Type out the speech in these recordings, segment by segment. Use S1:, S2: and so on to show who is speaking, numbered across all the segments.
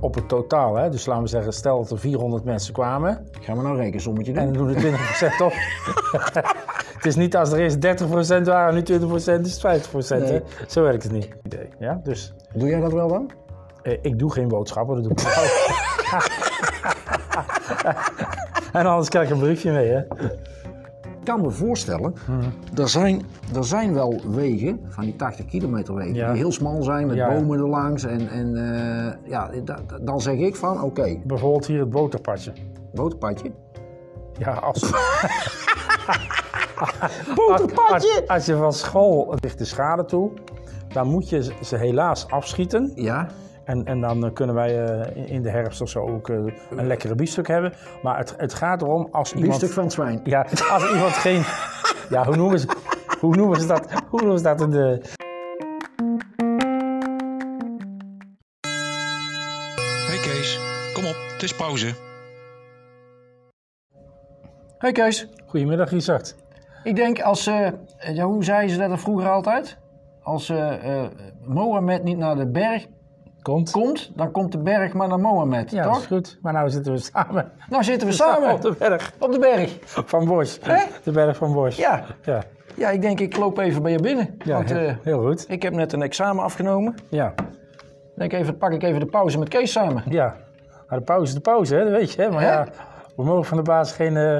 S1: op het totaal, hè? dus laten we zeggen, stel dat er 400 mensen kwamen
S2: Gaan we nou een rekensommetje doen?
S1: en doen er 20% op. het is niet als er eerst 30% waren, nu 20% is 50%. Hè?
S2: Nee.
S1: Zo werkt het niet. Idee, Ja? Dus
S2: Doe jij dat wel dan?
S1: eh, ik doe geen boodschappen, dat doe ik wel. en anders krijg ik een briefje mee. Hè?
S2: Ik kan me voorstellen, er, zijn, er zijn wel wegen, van die 80 kilometer wegen,
S1: Ja.
S2: die heel smal zijn met
S1: Ja, ja.
S2: bomen erlangs. En, en eh, ja, da- da- dan zeg ik van, oké,
S1: Bijvoorbeeld hier het boterpadje.
S2: boterpadje.
S1: Ja, als...
S2: Boterpadje!
S1: Als, als je van school ligt de schade toe, dan moet je ze helaas afschieten.
S2: Ja,
S1: En, en dan eh, kunnen wij eh, in- in de herfst of zo ook eh, een lekkere biefstuk hebben. Maar het, het gaat erom als
S2: een
S1: iemand...
S2: stuk van het zwijn.
S1: Ja, als iemand geen... Ja, hoe noemen ze, hoe noemen ze dat? Hoe noemen ze dat in de...
S3: Hey Kees, kom op, het is pauze.
S2: hey Kees,
S1: Goedemiddag, Richard.
S2: ik denk als, eh, ja, hoe zeiden ze dat er vroeger altijd? Als eh eh Mohammed niet naar de berg
S1: Komt.
S2: komt, dan komt de berg maar naar Mohammed,
S1: Ja, dat is
S2: toch?
S1: goed. Maar nou zitten we samen
S2: Nou zitten we samen
S1: op de berg
S2: op de berg.
S1: van Bosch.
S2: Hè?
S1: De berg van Bosch.
S2: Ja,
S1: Ja,
S2: ja ik denk ik loop even bij je binnen.
S1: ja
S2: want,
S1: heel,
S2: eh,
S1: heel goed.
S2: ik heb net een examen afgenomen.
S1: Ja.
S2: Denk even, pak ik even de pauze met Kees samen.
S1: Ja, maar de pauze is de pauze, hè? dat weet je. Hè? Maar
S2: Hè?
S1: ja, we mogen van de baas geen eh,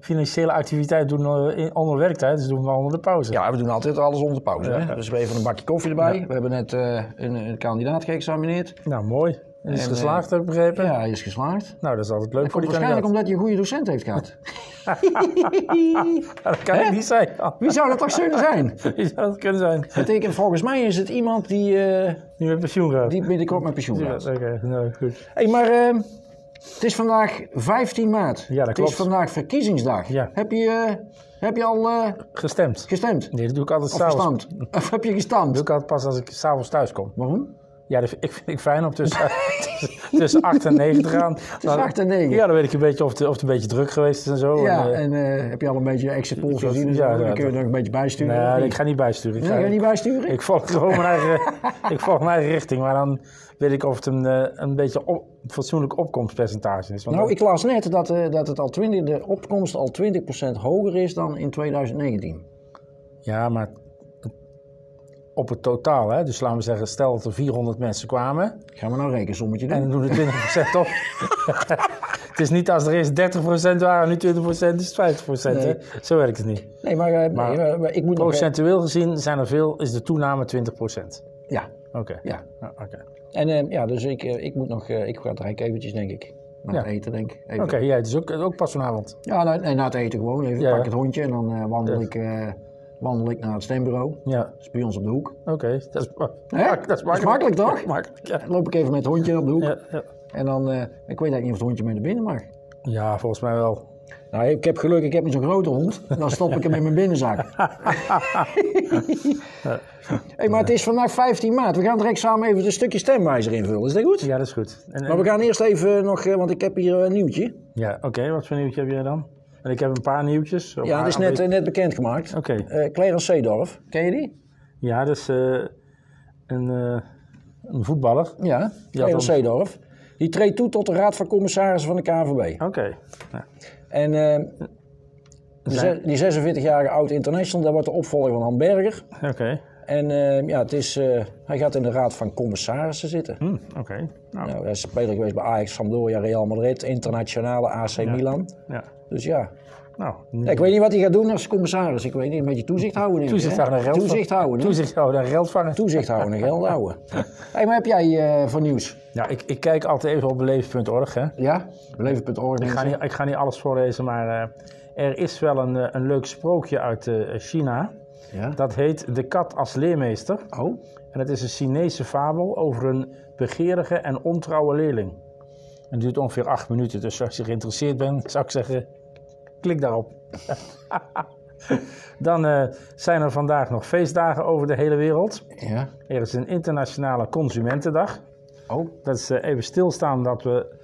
S1: financiële activiteit doen eh, in, onder werktijd, dus doen we onder de pauze.
S2: Ja, we doen altijd alles onder de pauze.
S1: Ja.
S2: Hè? Dus we even een bakje koffie erbij. We hebben net eh, een, een kandidaat geëxamineerd.
S1: Nou, mooi. Hij is
S2: En, eh,
S1: geslaagd, heb ik begrepen.
S2: Ja, hij is geslaagd.
S1: Nou, dat is altijd leuk
S2: Dat
S1: voor
S2: komt
S1: die kandidaat.
S2: waarschijnlijk omdat hij een goede docent heeft gehad.
S1: Ja, dat kan ik
S2: Hè?
S1: niet zijn.
S2: Wie zou dat toch kunnen zijn?
S1: Wie zou dat kunnen zijn?
S2: Betekent, volgens mij is het iemand die, eh,
S1: Nu met pensioen gaat.
S2: die binnenkort met pensioen
S1: Ja,
S2: gaat.
S1: Oké, nou goed.
S2: hey, maar eh, het is vandaag 15 maart.
S1: Ja, dat
S2: Het
S1: klopt.
S2: is vandaag verkiezingsdag.
S1: Ja.
S2: Heb, je, eh, heb je al eh,
S1: Gestemd.
S2: gestemd?
S1: Nee, dat doe ik altijd
S2: Of
S1: s'avonds.
S2: gestampt? Of heb je
S1: Dat doe
S2: gestampt?
S1: ik altijd pas als ik s'avonds thuis kom.
S2: Waarom?
S1: Ja, dat vind ik, vind ik fijn om tussen, tussen, tussen 8 en 9 te gaan. Dan-
S2: 8 en 9.
S1: Ja, dan weet ik een beetje of het, of het een beetje druk geweest is en zo.
S2: Ja,
S1: En, eh,
S2: en eh, heb je al een beetje exit polls
S1: dat-
S2: gezien? en
S1: ja,
S2: zo? dan
S1: ja,
S2: kun je
S1: dat-
S2: er nog een beetje bijsturen.
S1: Nee,
S2: Nee,
S1: ik ga niet bijsturen. Ik,
S2: ga
S1: ga,
S2: je niet bijsturen?
S1: ik volg gewoon mijn eigen, ik volg mijn eigen richting. Maar dan weet ik of het een, eh, een beetje op, fatsoenlijk opkomstpercentage is. Want
S2: nou,
S1: dan-
S2: ik las net dat, eh, dat het al 20, de opkomst al 20% hoger is dan in 2019.
S1: Ja, maar het- op het totaal. Hè? Dus laten we zeggen, stel dat er 400 mensen kwamen.
S2: Gaan we nou een rekensommetje doen?
S1: En dan doen er 20% op. het is niet als er eerst 30% waren, nu 20% is 50%. Hè? Zo werkt het niet.
S2: Nee, maar, eh, nee,
S1: Maar-
S2: maar- maar ik moet nog... eh,
S1: Procentueel gezien zijn er veel, is de toename 20%.
S2: Ja,
S1: Oké.
S2: ja.
S1: Ja, oké.
S2: En eh, ja, dus ik, eh, ik moet nog... eh, ik ga direct eventjes, denk ik. Na
S1: Ja.
S2: het eten, denk ik. Even.
S1: Oké, jij dus ook, ook pas vanavond.
S2: Ja, nou, nee, na het eten gewoon. Even
S1: Ja.
S2: pak het hondje en dan eh, wandel,
S1: Ja.
S2: ik, eh, wandel ik naar het stembureau.
S1: Ja,
S2: Dat is bij ons op de hoek.
S1: oké. Dat, is ma-
S2: Hè?
S1: mak- dat is
S2: Dat
S1: makkelijk.
S2: is makkelijk, toch?
S1: Makkelijk, ja.
S2: Dan loop ik even met het hondje op de hoek.
S1: Ja, ja.
S2: En dan... eh, ik weet eigenlijk niet of het hondje mee naar binnen mag.
S1: Ja, volgens mij wel.
S2: Nou, ik heb geluk, ik heb niet zo'n grote hond. Dan stop ik hem in mijn binnenzak. hey, maar het is vandaag 15 maart. We gaan direct samen even een stukje stemwijzer invullen. Is dat goed?
S1: Ja, dat is goed. En, en-
S2: Maar we gaan eerst even nog, eh, want ik heb hier een nieuwtje.
S1: Ja, oké. wat voor nieuwtje heb jij dan? En ik heb een paar nieuwtjes.
S2: Ja, dat is net, eh, net bekendgemaakt.
S1: Oké.
S2: Eh, Clarence Seedorf, ken je die?
S1: Ja, dat is eh, een, eh, een voetballer. Oké.
S2: Ja, Clarence
S1: dan-
S2: Seedorf. Die treedt toe tot de Raad van Commissarissen van de KNVB.
S1: Ja.
S2: En eh, die
S1: Zijn-
S2: ze- die 46-jarige oud-international, dat wordt de opvolger van Han Berger.
S1: Oké.
S2: En eh, ja, het is, eh, hij gaat in de raad van commissarissen zitten.
S1: Hm, oké. Nou,
S2: Nou, hij is speler geweest bij Ajax, Sampdoria, Real Madrid, internationale AC Milan.
S1: ja.
S2: Dus ja.
S1: Nou,
S2: Ja, ik weet niet wat hij gaat doen als commissaris. Ik weet niet, een beetje toezicht houden. denk ik, hè?
S1: toezicht houden en geld
S2: Toezicht houden. hè?
S1: Toezicht houden en geld vangen.
S2: Toezicht houden en geld houden. hey, maar heb jij eh, voor nieuws?
S1: Ja, ik, ik kijk altijd even op beleven.org. hè.
S2: Ja? Leven.org.
S1: Ik, ga niet- ik ga niet alles voorlezen, maar eh, er is wel een, eh, een leuk sprookje uit eh, China.
S2: Ja?
S1: Dat heet De kat als leermeester.
S2: Oh?
S1: En het is een Chinese fabel over een begeerige en ontrouwe leerling. En het duurt ongeveer acht minuten, dus als je geïnteresseerd bent, zou ik zeggen, klik daarop. Dan eh, zijn er vandaag nog feestdagen over de hele wereld.
S2: Ja?
S1: Er is een internationale consumentendag.
S2: Oh?
S1: Dat is eh, even stilstaan dat we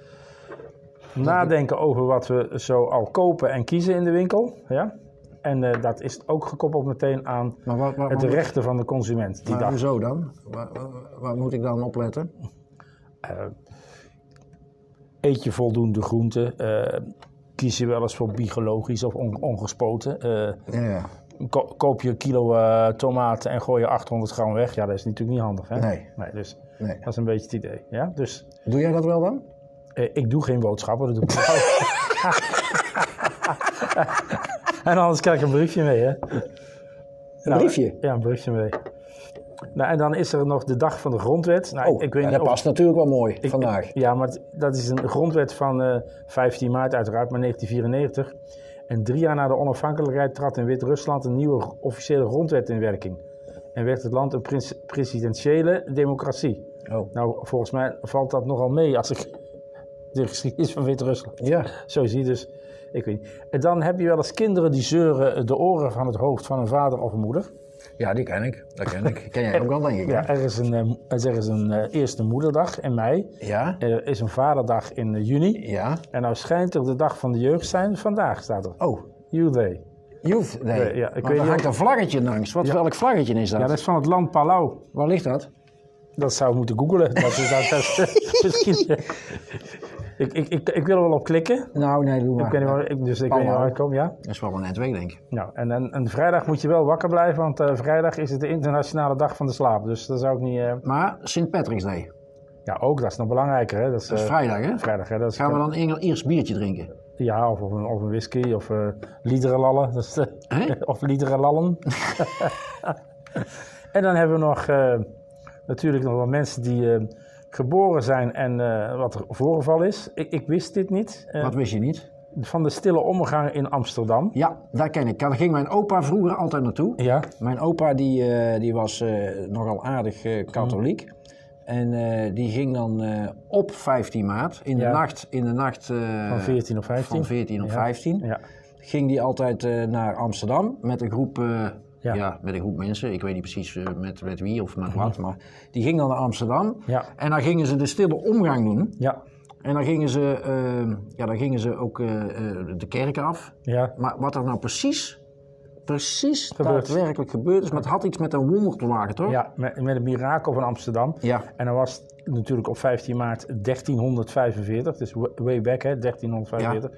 S1: nadenken over wat we zo al kopen en kiezen in de winkel. Ja? En eh, dat is ook gekoppeld meteen aan
S2: Maar wat, wat,
S1: de rechten van de consument die
S2: maar
S1: dag.
S2: hoezo dan? Waar, waar- waar moet ik dan opletten?
S1: Eh, Eet je voldoende groenten? Eh, kies je wel eens voor biologisch of on- ongespoten? Eh,
S2: Ja.
S1: ko- koop je een kilo eh, tomaten en gooi je 800 gram weg? Ja, dat is natuurlijk niet handig, hè?
S2: Nee.
S1: dus
S2: Nee.
S1: dat is een beetje het idee. Ja? Dus
S2: Doe jij dat wel dan?
S1: eh, ik doe geen boodschappen, dat doe ik vrouw. en anders krijg ik een briefje mee, hè?
S2: Een
S1: Nou,
S2: briefje?
S1: Ja, een briefje mee. Nou, en dan is er nog de dag van de grondwet. Nou,
S2: Oh,
S1: ik weet
S2: ja,
S1: niet
S2: dat
S1: of-
S2: past natuurlijk wel mooi
S1: ik-
S2: vandaag.
S1: ik- ja, maar het- dat is een grondwet van eh, 15 maart uiteraard, maar 1994. En drie jaar na de onafhankelijkheid trad in Wit-Rusland een nieuwe officiële grondwet in werking. En werd het land een prins- presidentiële democratie.
S2: oh.
S1: Nou, volgens mij valt dat nogal mee als ik de geschiedenis van Wit-Rusland
S2: Ja.
S1: zo zie. Dus ik weet niet. En dan heb je wel eens kinderen die zeuren de oren van het hoofd van een vader of een moeder.
S2: ja, die ken ik. Dat ken ik. Ken jij ook wel, denk ik.
S1: Ja,
S2: Ja.
S1: er is een, eh, er is een eh, eerste moederdag in mei.
S2: Ja.
S1: Er is een vaderdag in eh, juni.
S2: ja.
S1: En nou schijnt er de dag van de jeugd zijn vandaag, staat er.
S2: Oh,
S1: You Day.
S2: Youth Day.
S1: Nee, ja, ik weet
S2: maar daar
S1: niet
S2: hangt een vlaggetje langs. Wat, Welk vlaggetje is dat?
S1: Ja, dat is van het land Palau.
S2: Waar ligt dat?
S1: Dat zou ik moeten googlen. Dat is dat, dat- misschien. ik, ik, ik, ik wil er wel op klikken.
S2: Nou, nee, doe maar.
S1: Ik weet niet waar, ik, dus ik weet niet
S2: Palau.
S1: waar ik kom, ja.
S2: Dat is wel een net week, denk ik.
S1: Nou, en, en, en vrijdag moet je wel wakker blijven, want eh, vrijdag is het de internationale dag van de slaap. Dus dat zou ik niet... eh,
S2: Maar St. Patrick's Day.
S1: Ja, ook, dat is nog belangrijker, hè. Dat is,
S2: Dat is
S1: eh,
S2: vrijdag, hè?
S1: vrijdag, hè. Dat is,
S2: Gaan we dan een Iers biertje drinken?
S1: Ja, of, of, een, of een whisky, of eh liederenlallen. Dat is de-
S2: Hè?
S1: of liederenlallen. en dan hebben we nog eh, natuurlijk nog wel mensen die eh, geboren zijn en eh, wat er voorgeval is. Ik, ik wist dit niet. eh,
S2: Wat wist je niet?
S1: van de stille omgang in Amsterdam.
S2: Ja, daar ken ik. Daar ging mijn opa vroeger altijd naartoe.
S1: Ja,
S2: Mijn opa die, eh, die was eh, nogal aardig eh,
S1: Mhm.
S2: katholiek. En eh, die ging dan eh, op 15 maart, in
S1: Ja.
S2: de nacht, in de nacht eh,
S1: van 14 of 15.
S2: van 14 of
S1: Ja.
S2: 15,
S1: Ja.
S2: ging die altijd eh, naar Amsterdam met een groep, eh,
S1: Ja. Mhm.
S2: ja. met een groep mensen. Ik weet niet precies eh, met, met wie of met wat, maar die ging dan naar Amsterdam.
S1: Ja.
S2: En dan gingen ze de stille omgang doen.
S1: ja,
S2: En dan gingen ze, eh, ja, dan gingen ze ook eh, eh, de kerk af.
S1: ja.
S2: Maar wat er nou precies, precies
S1: Gebeurd.
S2: daadwerkelijk gebeurd is, maar het had iets met een wonder te maken, toch?
S1: Ja, met, met het mirakel van Amsterdam.
S2: Ja.
S1: En dan was het natuurlijk op 15 maart 1345, dus wa- way back hè, 1345.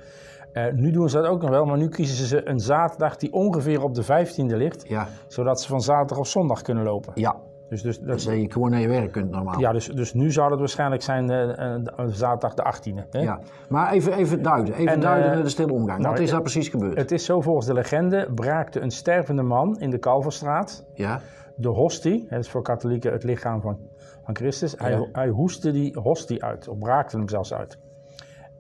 S1: Eh, nu doen ze dat ook nog wel, maar nu kiezen ze een zaterdag die ongeveer op de 15e ligt.
S2: Ja.
S1: Zodat ze van zaterdag op zondag kunnen lopen.
S2: Ja.
S1: Dus, dus, dat,
S2: Dat je gewoon naar je werk kunt normaal.
S1: ja, dus, dus nu zou dat waarschijnlijk zijn eh, eh, d- zaterdag de 18e. Hè?
S2: Ja. Maar even, even duiden, even
S1: En,
S2: duiden
S1: eh,
S2: naar de stille omgang.
S1: nou,
S2: wat is
S1: ik-
S2: daar precies gebeurd?
S1: Het is zo volgens de legende, braakte een stervende man in de Kalverstraat
S2: ja.
S1: de hostie, dat is voor katholieken het lichaam van, van Christus. Hij,
S2: Ja.
S1: hij hoestte die hostie uit, of braakte hem zelfs uit.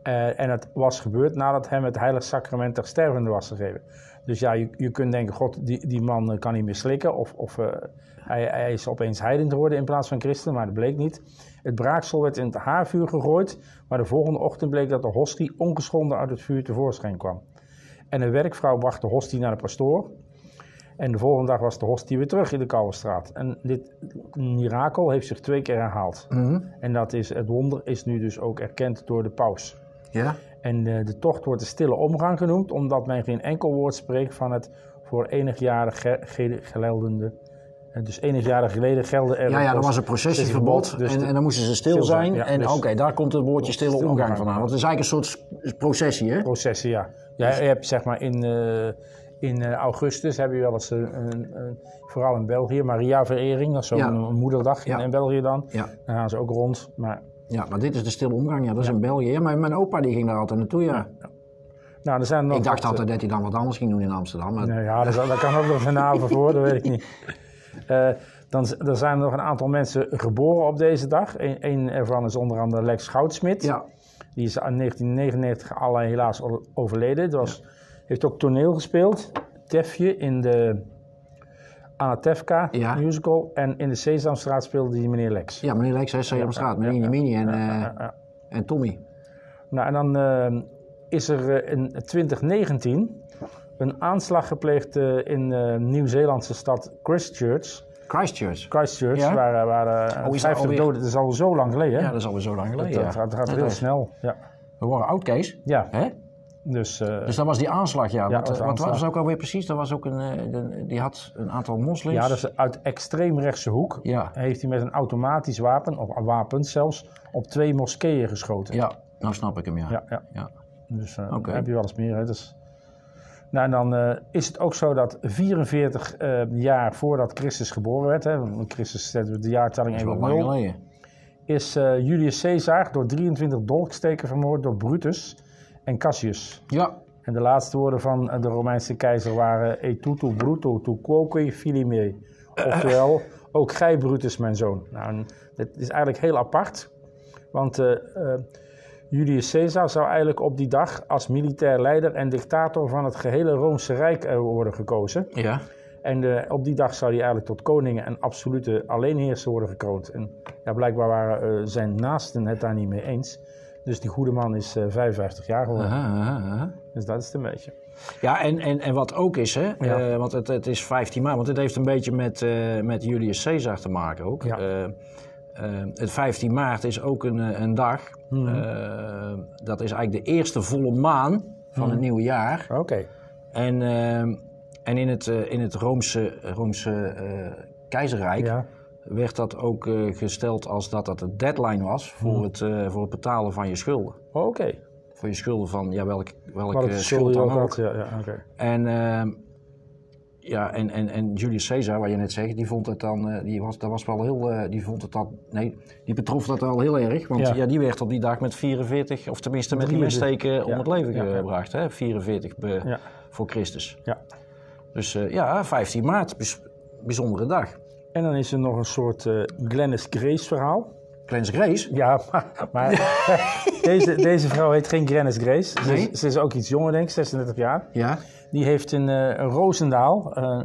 S1: Eh, en het was gebeurd nadat hem het heilig sacrament ter stervende was gegeven. Dus ja, je, je kunt denken, god, die, die man eh, kan niet meer slikken. Of, of eh, hij, hij is opeens heiden geworden in plaats van christen, maar dat bleek niet. Het braaksel werd in het haarvuur gegooid, maar de volgende ochtend bleek dat de hostie ongeschonden uit het vuur tevoorschijn kwam. En een werkvrouw bracht de hostie naar de pastoor. En de volgende dag was de hostie weer terug in de Koude Straat. En dit mirakel heeft zich twee keer herhaald.
S2: Mhm.
S1: En dat is, het wonder is nu dus ook erkend door de paus.
S2: Ja.
S1: En eh, de tocht wordt de stille omgang genoemd, omdat men geen enkel woord spreekt van het voor enig jaren ge- ge- geldende. eh, Dus enig jaren geleden gelden er.
S2: Ja, ja, er was een
S1: processieverbod,
S2: processieverbod
S1: dus
S2: en,
S1: de-
S2: en dan moesten ze stil,
S1: stil zijn,
S2: zijn.
S1: ja,
S2: en
S1: dus-
S2: oké, daar komt het woordje stille
S1: Stille
S2: omgang
S1: omgang.
S2: vandaan. Want het is eigenlijk een soort s- processie, hè?
S1: Processen, ja. ja je hebt zeg maar in, eh, in eh, augustus heb je wel eens, een, een- een- vooral in België, Maria-verering. Dat is zo'n
S2: Ja.
S1: moederdag in-
S2: Ja.
S1: in België dan.
S2: Ja.
S1: Dan gaan ze ook rond. Maar,
S2: ja, maar dit is de stille omgang. Ja, dat is in België. Ja, maar mijn opa die ging daar altijd naartoe, ja.
S1: nou, er zijn er nog
S2: Ik dacht
S1: wat,
S2: altijd dat hij dan wat anders ging doen in Amsterdam. Maar...
S1: Nou ja, dat, dat kan ook nog een avond voor, dat weet ik niet. Eh, dan, z- er zijn nog een aantal mensen geboren op deze dag. Eén één ervan is onder andere Lex Goudsmit.
S2: Ja,
S1: Die is in 1999 al helaas al overleden. Dat was, Heeft ook toneel gespeeld. Tefje in de Anatefka
S2: Ja.
S1: musical. En in de Sesamstraat speelde die meneer Lex.
S2: ja meneer Lex, hij zei op straat, meneer Mini en, eh,
S1: Ja, ja.
S2: en Tommy.
S1: Nou, en dan eh, is er eh, in 2019 een aanslag gepleegd eh, in de Nieuw-Zeelandse stad Christchurch.
S2: Christchurch.
S1: Christchurch,
S2: Ja?
S1: waar, eh, waar eh,
S2: Oh, is dat
S1: 50
S2: alweer-
S1: doden, dat is al zo lang geleden. hè?
S2: Ja, dat is alweer zo lang geleden.
S1: dat
S2: ja.
S1: gaat, gaat
S2: Ja,
S1: heel
S2: dat is-
S1: snel. Ja,
S2: We worden oud, Kees.
S1: ja.
S2: Hè?
S1: dus eh,
S2: Dus dat was die aanslag,
S1: Ja,
S2: ja. wat
S1: was de
S2: wat
S1: aanslag.
S2: was ook alweer precies? Dat was ook een, eh, de- die had een aantal moslims.
S1: ja, dat is uit extreemrechtse hoek.
S2: Ja.
S1: Heeft hij met een automatisch wapen, of wapens zelfs, op twee moskeeën geschoten.
S2: Ja, Nou snap ik hem, ja.
S1: Ja, ja.
S2: Ja.
S1: Dus eh,
S2: Oké.
S1: daar heb je wel eens meer. Hè. Dus, nou, en dan eh, is het ook zo dat 44 eh, jaar voordat Christus geboren werd, hè, want Christus zetten we de jaartelling
S2: Dat is
S1: even
S2: wel
S1: op
S2: lang
S1: nul,
S2: geleden.
S1: is eh, Julius Caesar door 23 dolksteken vermoord door Brutus en Cassius.
S2: Ja,
S1: En de laatste woorden van eh, de Romeinse keizer waren: E tu tu bruto tu quoque fili mei. Oftewel, ook gij Brutus, mijn zoon. Nou, en dat is eigenlijk heel apart. Want eh, eh, Julius Caesar zou eigenlijk op die dag als militair leider en dictator van het gehele Roomse Rijk eh, worden gekozen.
S2: ja.
S1: En eh, op die dag zou hij eigenlijk tot koning en absolute alleenheerser worden gekroond. En ja, blijkbaar waren eh, zijn naasten het daar niet mee eens. Dus die goede man is eh, 55 jaar geworden.
S2: Aha, aha, aha.
S1: Dus dat is het een beetje.
S2: Ja, en, en, en wat ook is, hè,
S1: Ja.
S2: eh, want het, het is 15 maart, want het heeft een beetje met, eh, met Julius Caesar te maken ook.
S1: Ja.
S2: Eh, eh, het 15 maart is ook een, eh, een dag,
S1: Mhm.
S2: eh, dat is eigenlijk de eerste volle maan van
S1: Mhm.
S2: het nieuwe jaar.
S1: Oké.
S2: En, eh, en in het, eh, in het Roomse, Roomse eh, keizerrijk
S1: Ja.
S2: werd dat ook eh, gesteld als dat dat de deadline was voor,
S1: Mhm.
S2: het, eh, voor het betalen van je schulden.
S1: Oh, Oké.
S2: Voor je schulden van ja, welke, welke,
S1: Wat het
S2: eh,
S1: schuld
S2: schuld dan
S1: ook had.
S2: ook.
S1: Ja, ja, oké.
S2: En, ehm, ja, en, en, en Julius Caesar, wat je net zegt, die vond het dan, eh, die was, dat was wel heel, eh, die vond het dat, nee, die betrof dat wel heel erg. Want ja.
S1: Ja.
S2: die werd op die dag met 44, of tenminste met die
S1: 43,
S2: missteken om
S1: ja.
S2: het leven
S1: Ja, ja.
S2: gebracht, hè? 44 be-
S1: Ja.
S2: voor Christus.
S1: ja.
S2: Dus eh, ja, 15 maart, bijz- bijzondere dag.
S1: En dan is er nog een soort eh Glennis Grace verhaal.
S2: Clarence Grace,
S1: Ja, maar, maar deze, deze vrouw heet geen Glennis Grace. Ze,
S2: Nee?
S1: is, ze is ook iets jonger, denk ik, 36 jaar.
S2: ja,
S1: Die heeft in eh, Roosendaal eh,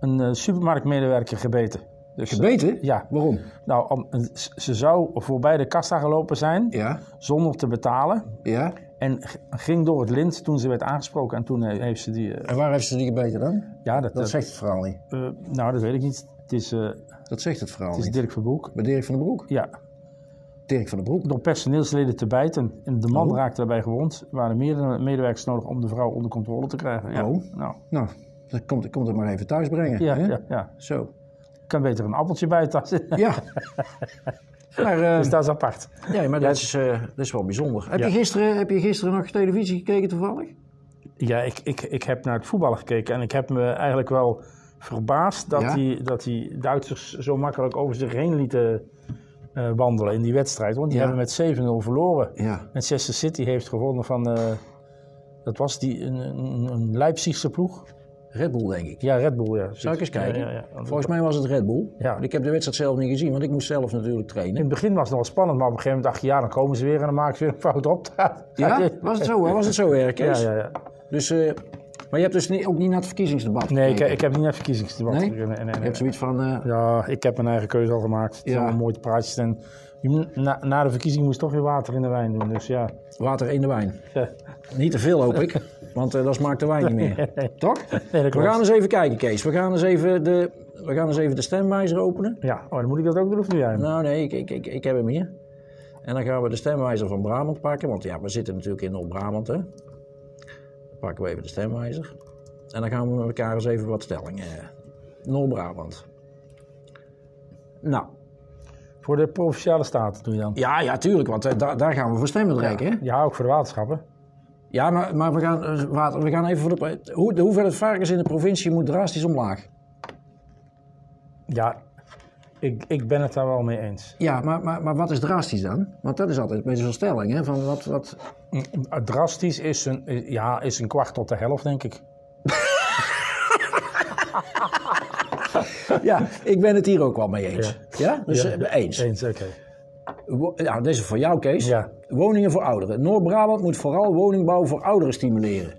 S1: een eh, supermarktmedewerker gebeten. Dus, eh,
S2: gebeten?
S1: ja.
S2: Waarom?
S1: Nou, om- ze- ze zou voorbij de kassa gelopen zijn
S2: Ja,
S1: zonder te betalen.
S2: ja.
S1: En g- ging door het lint toen ze werd aangesproken. En toen eh, heeft ze die... eh,
S2: En waar heeft ze die gebeten dan?
S1: ja, dat,
S2: Dat zegt het verhaal niet.
S1: eh, nou, dat weet ik niet. Het is, eh,
S2: Dat zegt het verhaal
S1: het is
S2: niet.
S1: Dirk Verboek.
S2: Bij Dirk van den Broek.
S1: Ja,
S2: Dirk van den Broek.
S1: door personeelsleden te bijten. En de man
S2: Oh.
S1: raakte daarbij gewond. Er waren meerdere medewerkers nodig om de vrouw onder controle te krijgen. Ja.
S2: Oh.
S1: Nou,
S2: Nou, dan komt, komt het maar even thuis brengen.
S1: ja,
S2: hè? Dus
S1: ja, ja.
S2: Zo.
S1: Ik kan beter een appeltje bijten.
S2: Ja. maar eh,
S1: dus dat is apart.
S2: nee, maar dat, is, eh, dat is wel bijzonder. Heb,
S1: Ja.
S2: je gisteren, heb je gisteren nog televisie gekeken toevallig?
S1: Ja, ik, ik, ik heb naar het voetballen gekeken. En ik heb me eigenlijk wel verbaasd dat,
S2: Ja?
S1: die, dat die Duitsers zo makkelijk over zich heen lieten eh, wandelen in die wedstrijd. Want die
S2: Ja.
S1: hebben met 7-0 verloren.
S2: Ja.
S1: Manchester City heeft gewonnen van... eh, dat was die, een, een, een Leipzigse ploeg.
S2: Red Bull, denk ik.
S1: Ja, Red Bull. Ja,
S2: Zou ik eens kijken?
S1: Ja, ja, ja.
S2: Volgens mij was het Red Bull.
S1: Ja.
S2: Want Ik heb de wedstrijd zelf niet gezien, want ik moest zelf natuurlijk
S1: In
S2: trainen.
S1: het begin was het nog wel spannend, maar op een gegeven moment dacht je, ja, dan komen ze weer en dan maken ze weer een fout op.
S2: Ja? Was het zo, hè? Was het zo erg,
S1: Ja,
S2: Kees?
S1: ja, ja.
S2: Dus, eh, maar je hebt dus niet, ook niet naar het verkiezingsdebat
S1: Nee, ik,
S2: gekeken?
S1: ik heb niet naar verkiezingsdebat.
S2: Nee?
S1: gekeken. nee, nee,
S2: Je
S1: nee.
S2: hebt zoiets van... eh,
S1: Ja, ik heb mijn eigen keuze al gemaakt. Het
S2: Ja.
S1: zijn allemaal mooie praatjes. En je moet- na, na de verkiezing moest je toch weer water in de wijn doen. Dus ja,
S2: Water in de wijn.
S1: Ja.
S2: Niet te veel, hoop ik. Want eh dat smaakt de wijn niet meer. Toch?
S1: klopt.
S2: we gaan eens even kijken, Kees. We gaan eens even de, we gaan eens even de stemwijzer openen.
S1: ja. Oh, dan moet ik dat ook doen of doe jij hem?
S2: Nou, nee, ik, ik, ik, ik heb hem hier. En dan gaan we de stemwijzer van Brabant pakken. Want ja, we zitten natuurlijk in Noord-Brabant, hè. Dan pakken we even de stemwijzer. En dan gaan we met elkaar eens even wat stellingen. eh, Noord-Brabant. Nou,
S1: Voor de Provinciale Staten doe je dan.
S2: ja, ja, tuurlijk. Want eh, daar- daar gaan we voor stemmen trekken, hè.
S1: Ja, ook voor de waterschappen.
S2: Ja, maar, maar we, gaan, eh, water- we gaan even voor de. pro- Hoe, de hoeveelheid varkens in de provincie moet drastisch omlaag.
S1: Ja, ik, ik ben het daar wel mee eens.
S2: Ja, maar, maar, maar wat is drastisch dan? Want dat is altijd met zo'n stelling, hè? Van wat, wat... Hm.
S1: Drastisch is een, ja, is een kwart tot de helft, denk ik.
S2: Ja, ik ben het hier ook wel mee eens. Ja? Dus
S1: Ja,
S2: eh,
S1: ja.
S2: eens.
S1: Eens, oké.
S2: Wo- Ja, deze is voor jou, Kees.
S1: Ja.
S2: Woningen voor ouderen. Noord-Brabant moet vooral woningbouw voor ouderen stimuleren.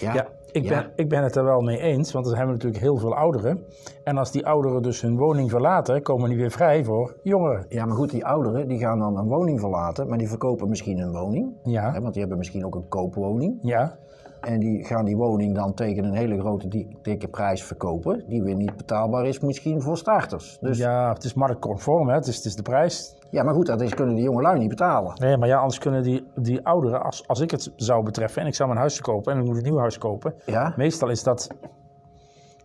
S1: Ja, ik ben,
S2: ja.
S1: ik ben het er wel mee eens, want er hebben natuurlijk heel veel ouderen. En als die ouderen dus hun woning verlaten, komen die weer vrij voor jongeren.
S2: Ja, maar goed, die ouderen die gaan dan een woning verlaten, maar die verkopen misschien hun woning.
S1: Ja.
S2: Hè, want die hebben misschien ook een koopwoning.
S1: Ja,
S2: En die gaan die woning dan tegen een hele grote dik- dikke prijs verkopen. Die weer niet betaalbaar is misschien voor starters. Dus, ja.
S1: ja het is marktconform, hè? Het, is, het is de prijs.
S2: maar goed, dat is, kunnen die jongelui niet betalen.
S1: Nee, maar ja, anders kunnen die, die ouderen, als, als ik het zou betreffen en ik zou mijn huis verkopen en ik moet een nieuw huis kopen.
S2: Ja?
S1: Meestal is dat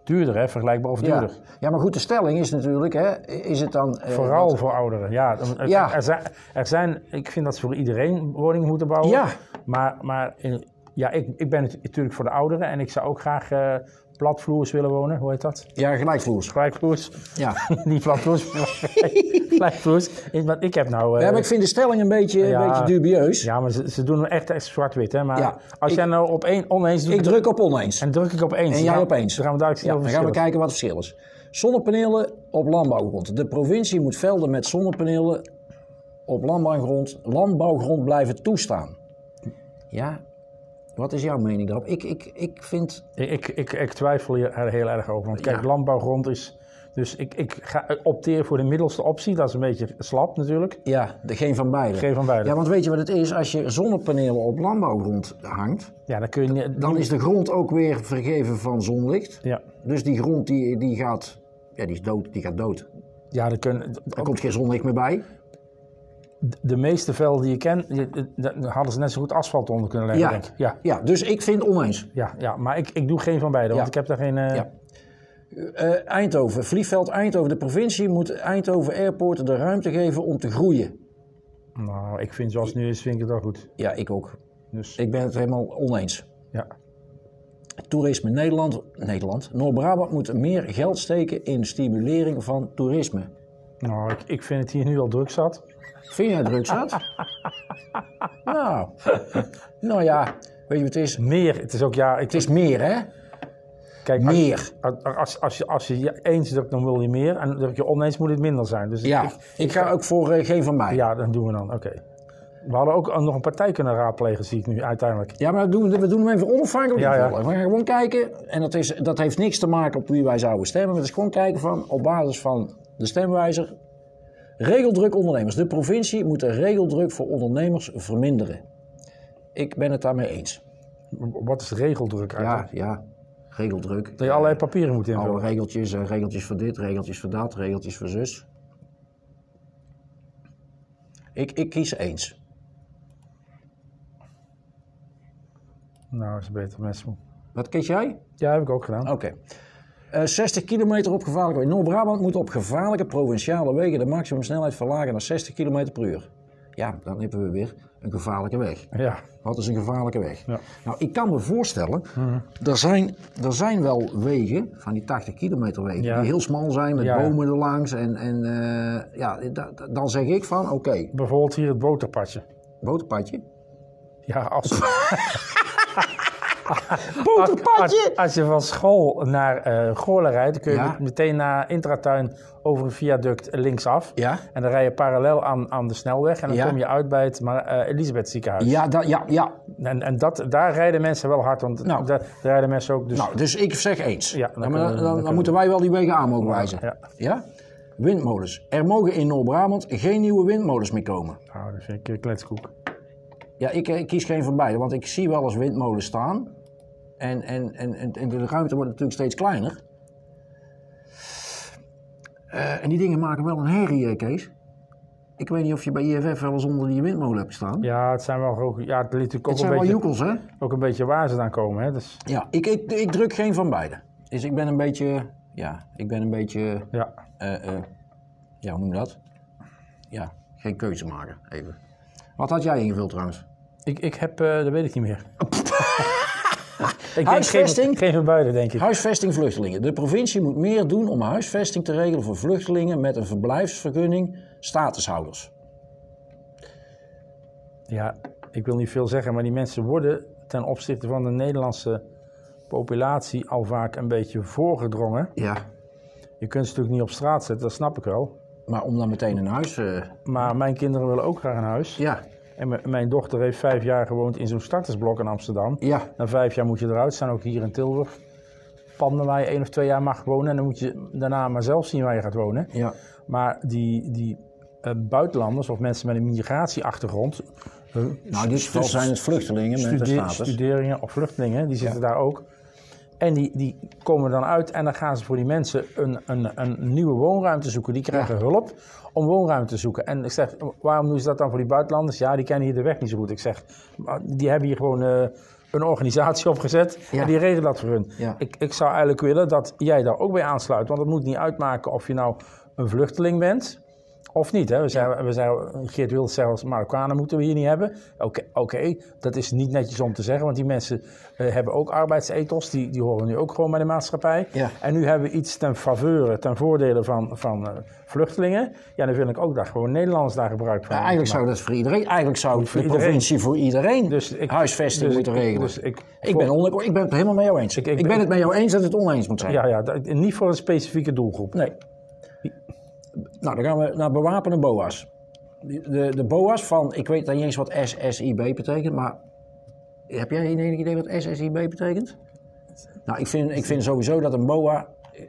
S1: Duurder, hè? vergelijkbaar of
S2: Ja.
S1: duurder.
S2: ja, maar goed, de stelling is natuurlijk, hè, is het dan... eh,
S1: Vooral
S2: wat-
S1: voor ouderen, ja. Er-
S2: Ja.
S1: Er, zijn, er zijn, ik vind dat ze voor iedereen woningen moeten bouwen.
S2: Ja.
S1: Maar, maar in- ja, ik, ik ben het natuurlijk voor de ouderen en ik zou ook graag eh, platvloers willen wonen. Hoe heet dat?
S2: ja, gelijkvloers.
S1: Gelijkvloers.
S2: Ja.
S1: Niet platvloers, maar gelijkvloers. Ik- Want ik heb nou... eh,
S2: ja, maar ik vind de stelling een beetje,
S1: Ja.
S2: een beetje dubieus.
S1: ja, maar ze, ze doen hem echt, echt zwart-wit, hè. Maar
S2: Ja.
S1: als
S2: Ik-
S1: jij nou op één oneens doet,
S2: Ik druk op oneens.
S1: en druk ik op eens.
S2: En jij
S1: dan-
S2: opeens.
S1: Dan gaan we duidelijk
S2: Ja,
S1: zien
S2: dan
S1: of het
S2: gaan we
S1: verschil is.
S2: kijken wat het verschil is. Zonnepanelen op landbouwgrond. De provincie moet velden met zonnepanelen op landbouwgrond, landbouwgrond blijven toestaan. Ja, wat is jouw mening daarop? Ik, ik, ik vind...
S1: Ik, ik, ik twijfel hier er heel erg over. Want kijk,
S2: Ja.
S1: landbouwgrond is. Dus ik, ik ga ik opteer voor de middelste optie. Dat is een beetje slap natuurlijk.
S2: Ja, de, geen van beide.
S1: Geen van beide.
S2: Ja, want weet je wat het is? Als je zonnepanelen op landbouwgrond hangt,
S1: Ja, dan kun je. niet-
S2: dan is de grond ook weer vergeven van zonlicht.
S1: Ja,
S2: Dus die grond die, die gaat... Ja, die is dood. Die gaat dood.
S1: ja dan kun,
S2: Er komt geen zonlicht meer bij.
S1: de meeste velden die je kent, die- die- daar hadden ze net zo goed asfalt onder kunnen leggen,
S2: Ja.
S1: denk ik. Ja,
S2: Ja, dus ik vind oneens.
S1: ja, ja. maar ik, ik doe geen van beide, want
S2: Ja.
S1: ik heb daar geen... eh,
S2: Ja. Eh, Eindhoven, vliegveld Eindhoven. De provincie moet Eindhoven Airport de ruimte geven om te groeien.
S1: Nou, ik vind zoals het nu is, vind ik het wel goed.
S2: Ja, ik ook.
S1: Dus,
S2: Ik ben het helemaal oneens.
S1: ja.
S2: Toerisme Nederland, Nederland. Noord-Brabant moet meer geld steken in stimulering van toerisme.
S1: Nou, ik, ik vind het hier nu al druk zat.
S2: Vind jij druk zat? nou, nou ja, weet je wat het is? Het
S1: Meer, het is ook, ja... Ik,
S2: is meer, hè?
S1: kijk, als-
S2: Meer.
S1: Als, als, als, je, als je je eens drukt, dan wil je meer. En druk je oneens, moet het minder zijn. Dus
S2: Ja,
S1: ik,
S2: ik ga ook voor eh, geen van mij. Ja,
S1: ja, dat doen we dan. Oké. We hadden ook eh, nog een partij kunnen raadplegen, zie ik nu uiteindelijk.
S2: maar dat doen we, we doen hem even onafhankelijk.
S1: Ja, ja.
S2: invullen. We gaan gewoon kijken. En dat, is, dat heeft niks te maken op wie wij zouden stemmen. Maar het is gewoon kijken van, op basis van de stemwijzer. Regeldruk ondernemers. De provincie moet de regeldruk voor ondernemers verminderen. Ik ben het daarmee eens.
S1: Wat is regeldruk eigenlijk?
S2: Ja, ja. Regeldruk.
S1: Dat je allerlei papieren moet invullen.
S2: Alle regeltjes, eh, regeltjes voor dit, regeltjes voor dat, regeltjes voor zus. Ik, ik kies eens.
S1: Nou, is beter mensen.
S2: Wat kies jij?
S1: Ja, heb ik ook gedaan.
S2: Oké. Eh, 60 kilometer op gevaarlijke wegen. Noord-Brabant moet op gevaarlijke provinciale wegen de maximumsnelheid verlagen naar 60 kilometer per uur. Ja, dan hebben we weer een gevaarlijke weg.
S1: Ja,
S2: Wat is een gevaarlijke weg?
S1: Ja. Mhm.
S2: Nou, ik kan me voorstellen, er, zijn, er zijn wel wegen, van die 80 kilometer wegen,
S1: Ja.
S2: die heel smal zijn met
S1: Ja, ja.
S2: bomen erlangs. En, en eh, ja, da- da- dan zeg ik van, oké,
S1: bijvoorbeeld hier het boterpadje.
S2: boterpadje.
S1: Ja, als, als,
S2: Boterpadje!
S1: als je van school naar eh Goorlen rijdt, dan kun je
S2: Ja.
S1: meteen naar Intratuin over een viaduct linksaf.
S2: Ja.
S1: En dan rij je parallel aan, aan de snelweg en dan
S2: Ja.
S1: kom je uit bij het Ma- eh, Elisabeth ziekenhuis.
S2: Ja, da- ja, ja.
S1: En, en dat, daar rijden mensen wel hard, want
S2: Nou.
S1: daar, daar rijden mensen ook. Dus,
S2: Nou, dus ik zeg eens.
S1: Ja, dan
S2: Ja, maar
S1: kunnen we-
S2: dan,
S1: dan
S2: dan
S1: kunnen
S2: moeten wij wel die wegen aan mogen wijzen.
S1: Ja.
S2: ja? Windmolens. Er mogen in Noord-Brabant geen nieuwe windmolens meer komen.
S1: nou, dat vind ik eh, kletskoek.
S2: Ja, ik, eh, kies geen van beide, want ik zie wel eens windmolens staan. En, en, en, en, en de ruimte wordt natuurlijk steeds kleiner. Eh, en die dingen maken wel een herrie, eh, Kees. Ik weet niet of je bij IFF wel eens onder die windmolen hebt gestaan.
S1: Ja, het zijn wel gro- Ja, het liet natuurlijk ook,
S2: het zijn
S1: een
S2: wel
S1: beetje,
S2: joekels, hè?
S1: ook een beetje waar ze dan komen. Hè? Dus,
S2: Ja, ik, ik, ik druk geen van beide. Dus ik ben een beetje... Ja, ik ben een beetje...
S1: ja.
S2: eh, eh, ja, hoe noem je dat? Ja, geen keuze maken, even. Wat had jij ingevuld trouwens?
S1: Ik, ik heb, eh, dat weet ik niet meer. ik denk
S2: Huisvesting?
S1: Geen, geen van beide, denk ik.
S2: Huisvesting vluchtelingen. De provincie moet meer doen om huisvesting te regelen voor vluchtelingen met een verblijfsvergunning statushouders.
S1: Ja, ik wil niet veel zeggen, maar die mensen worden ten opzichte van de Nederlandse populatie al vaak een beetje voorgedrongen.
S2: Ja.
S1: Je kunt ze natuurlijk niet op straat zetten, dat snap ik wel.
S2: Maar om dan meteen een huis. eh,
S1: Maar mijn kinderen willen ook graag een huis.
S2: ja,
S1: En m- mijn dochter heeft vijf jaar gewoond in zo'n startersblok in Amsterdam.
S2: ja.
S1: Na vijf jaar moet je eruit staan, ook hier in Tilburg. Panden waar je één of twee jaar mag wonen. En dan moet je daarna maar zelf zien waar je gaat wonen.
S2: Ja,
S1: Maar die, die eh, buitenlanders of mensen met een migratieachtergrond, hun
S2: nou, in dit geval
S1: Studeer-
S2: zijn het vluchtelingen met een
S1: stude-
S2: status.
S1: studeringen of vluchtelingen, die zitten daar ook. En die, die komen dan uit en dan gaan ze voor die mensen een, een, een nieuwe woonruimte zoeken. Die krijgen hulp om woonruimte te zoeken. En ik zeg, waarom doen ze dat dan voor die buitenlanders? Ja, die kennen hier de weg niet zo goed. Ik zeg, maar die hebben hier gewoon eh, een organisatie opgezet
S2: Ja.
S1: en die regelen dat voor hun.
S2: Ja.
S1: Ik, ik zou eigenlijk willen dat jij daar ook bij aansluit, want het moet niet uitmaken of je nou een vluchteling bent of niet. Hè? We zijn, we zijn, Geert Wilders zei als Marokkanen moeten we hier niet hebben. Oké, oké, dat is niet netjes om te zeggen, want die mensen eh, hebben ook arbeidsethos, die, die horen nu ook gewoon bij de maatschappij.
S2: Ja.
S1: En nu hebben we iets ten faveur, ten voordele van, van eh, vluchtelingen. Ja, dan wil ik ook daar gewoon Nederlands daar gebruik van.
S2: Ja,
S1: maken.
S2: eigenlijk zou dat voor iedereen, eigenlijk zou de
S1: Voor iedereen.
S2: provincie voor iedereen
S1: Dus ik-
S2: huisvesting
S1: dus
S2: moeten
S1: ik-
S2: regelen.
S1: dus ik-
S2: ik, ben on, ik ben het helemaal met jou eens.
S1: Ik-
S2: Ik,
S1: ik-
S2: ben
S1: ik-
S2: het met jou eens dat het oneens moet zijn.
S1: Ja, ja dat- niet voor een specifieke doelgroep.
S2: Nee. Nou, dan gaan we naar bewapende boa's. De, de boa's van, ik weet dan niet eens wat SSIB betekent, maar heb jij enig idee wat SSIB betekent? Nou, ik vind, ik vind sowieso dat een boa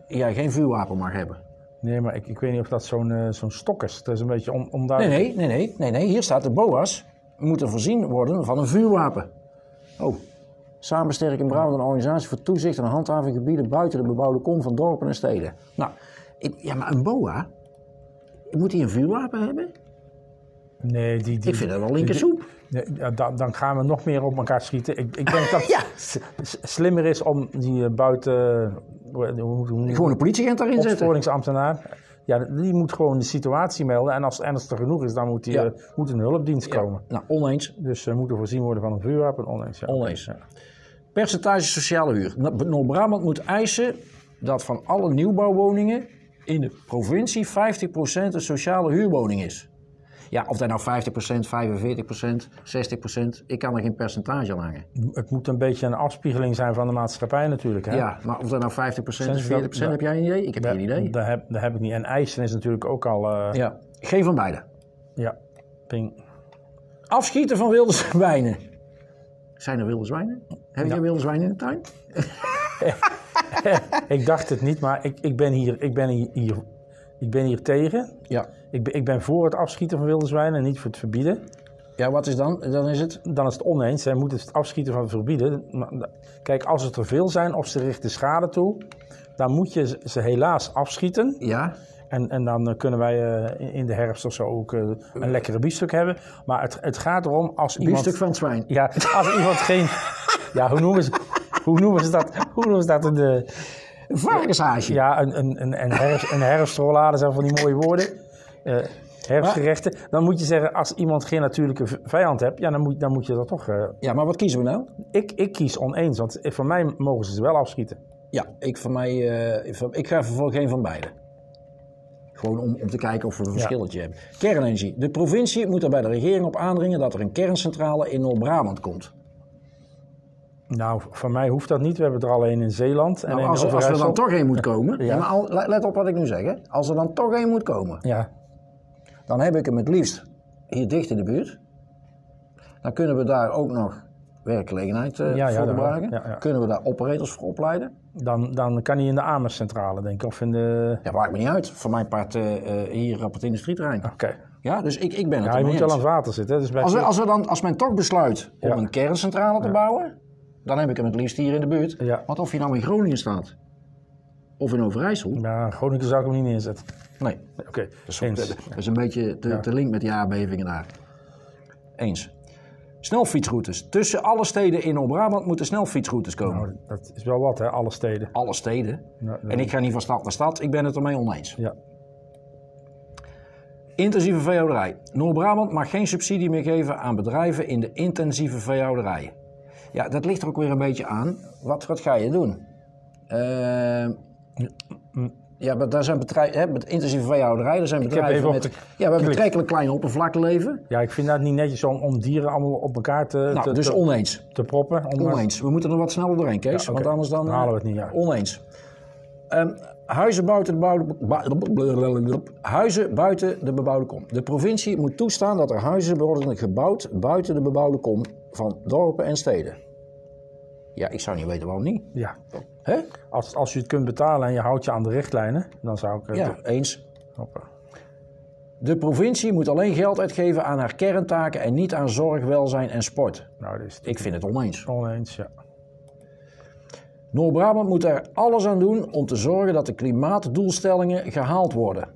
S2: ja, geen vuurwapen mag hebben.
S1: Nee, maar ik, ik weet niet of dat zo'n eh, zo'n stok is. Dat is een beetje on,
S2: Nee,
S1: onduidelijk.
S2: nee, nee, nee, nee, nee. Hier staat de boa's moeten voorzien worden van een vuurwapen. Oh. Samen sterk in Brabant een organisatie voor toezicht en handhaving gebieden buiten de bebouwde kom van dorpen en steden. Nou, ik- ja, maar een boa, moet hij een vuurwapen hebben?
S1: Nee, die, die,
S2: Ik vind dat wel linkersoep.
S1: Nee, ja, dan, dan gaan we nog meer op elkaar schieten. Ik, ik denk dat
S2: Ja.
S1: het s- s- slimmer is om die eh, buiten... Hoe, hoe, hoe,
S2: Gewoon een politieagent daarin zetten.
S1: opsporingsambtenaar. Ja, die moet gewoon de situatie melden. En als het ernstig genoeg is, dan moet, die,
S2: Ja.
S1: eh, moet een hulpdienst komen.
S2: Nou, oneens.
S1: Dus ze moeten voorzien worden van een vuurwapen. Oneens, ja.
S2: Oneens. Percentage sociale huur. Nou, Noord-Brabant moet eisen dat van alle nieuwbouwwoningen in de provincie 50% een sociale huurwoning is. Ja, of dat nou 50%, 45%, 60%, ik kan er geen percentage aan hangen.
S1: Het moet een beetje een afspiegeling zijn van de maatschappij natuurlijk. Hè?
S2: Ja, maar of dat nou 50% is, 40%,
S1: Ja.
S2: heb jij een idee? Ik heb geen idee.
S1: Daar heb, daar heb ik niet. En eisen is natuurlijk ook al... eh,
S2: Ja, geen van beide.
S1: ja, ping.
S2: Afschieten van wilde zwijnen. Zijn er wilde zwijnen? Heb je wilde zwijnen in de tuin?
S1: Ik dacht het niet, maar ik, ik, ben, hier, ik, ben, hier, hier- ik ben hier tegen.
S2: Ja.
S1: Ik ben, ik ben voor het afschieten van wilde zwijnen en niet voor het verbieden.
S2: Ja, wat is dan? Dan is het
S1: Dan is het oneens. Zij moeten het afschieten van het verbieden. Maar- Kijk, als het er veel zijn of ze richten schade toe, dan moet je ze- ze helaas afschieten.
S2: Ja,
S1: En, en dan eh, kunnen wij eh, in- in de herfst of zo ook eh, een lekkere biefstuk hebben. Maar het, het gaat erom als iemand...
S2: biefstuk van het zwijn.
S1: Ja, als iemand geen... Ja, hoe noemen ze, hoe noemen ze dat? Hoe noemen ze dat in de...
S2: Een varkenshaasje.
S1: Ja, een, een, een, een, herfst, een herfstrollade zijn van die mooie woorden. Eh, herfstgerechten. Dan moet je zeggen, als iemand geen natuurlijke v- vijand hebt, ja, dan, moet, dan moet je dat toch... eh,
S2: Ja, maar wat kiezen we nou?
S1: ik, ik kies oneens, want voor mij mogen ze ze wel afschieten.
S2: Ja, ik, van mij, eh, ik van- ik ga voor geen van beide. Gewoon om, om te kijken of we een verschilletje hebben. Kernenergie. De provincie moet er bij de regering op aandringen dat er een kerncentrale in Noord-Brabant komt.
S1: Nou, voor mij hoeft dat niet. We hebben er al één in Zeeland. En
S2: Nou,
S1: één
S2: als,
S1: in
S2: er- als er dan
S1: Overijssel.
S2: toch één moet komen. ja. maar al- let let op wat ik nu zeg. Hè. Als er dan toch één moet komen,
S1: Ja,
S2: dan heb ik hem het liefst hier dicht in de buurt. Dan kunnen we daar ook nog werkgelegenheid eh,
S1: Ja, ja,
S2: voor
S1: daar-
S2: gebruiken.
S1: ja, ja.
S2: Kunnen we daar operators voor opleiden?
S1: dan, dan kan hij in de Amerscentrale, denk ik. Of in de...
S2: Ja, maakt me niet uit. Voor mijn part eh, eh, hier op het industrieterrein.
S1: Oké.
S2: Ja, dus ik, ik ben
S1: Ja,
S2: het
S1: hij
S2: ermee
S1: moet wel aan
S2: eens.
S1: het water zitten. hè. Dus bij
S2: Als, we- als, we dan, als men toch besluit om
S1: Ja.
S2: een kerncentrale te bouwen, dan heb ik hem het liefst hier in de buurt.
S1: Ja.
S2: Want of je nou in Groningen staat of in Overijssel,
S1: Ja, Groningen zou ik hem niet neerzetten.
S2: nee,
S1: Oké,
S2: dat
S1: eens.
S2: is een beetje de, de link met die aardbevingen daar. Eens. Snelfietsroutes. Tussen alle steden in Noord-Brabant moeten snelfietsroutes komen.
S1: Nou, dat is wel wat, hè? Alle steden.
S2: alle steden.
S1: Ja, dat-
S2: En ik ga niet van stad naar stad, ik ben het ermee oneens.
S1: Ja.
S2: Intensieve veehouderij. Noord-Brabant mag geen subsidie meer geven aan bedrijven in de intensieve veehouderij. Ja, dat ligt er ook weer een beetje aan. Wat, wat ga je doen? Ehm, ja, maar daar zijn bedrijven, hè, met intensieve veehouderij, daar zijn
S1: heb
S2: bedrijven
S1: even
S2: met,
S1: opgeklikt.
S2: ja, met betrekkelijk klein oppervlakleven.
S1: Ja, ik vind dat niet netjes om, om dieren allemaal op elkaar te, te,
S2: Nou, dus
S1: te-
S2: oneens.
S1: te proppen. Ondanks-
S2: Oneens. We moeten er wat sneller doorheen, Kees.
S1: Ja, oké.
S2: Want anders dan,
S1: Dan halen we het niet, ja.
S2: Oneens. Ehm, huizen, buiten de bebouwde, ba- huizen buiten de bebouwde kom. De provincie moet toestaan dat er huizen worden gebouwd buiten de bebouwde kom van dorpen en steden. Ja, ik zou niet weten waarom niet.
S1: Ja.
S2: Hè?
S1: Als, als je het kunt betalen en je houdt je aan de richtlijnen, dan zou ik het
S2: Ja, eens.
S1: Hoppa.
S2: De provincie moet alleen geld uitgeven aan haar kerntaken en niet aan zorg, welzijn en sport.
S1: Nou, dat is het
S2: Ik vind het oneens.
S1: oneens, ja.
S2: Noord-Brabant moet er alles aan doen om te zorgen dat de klimaatdoelstellingen gehaald worden.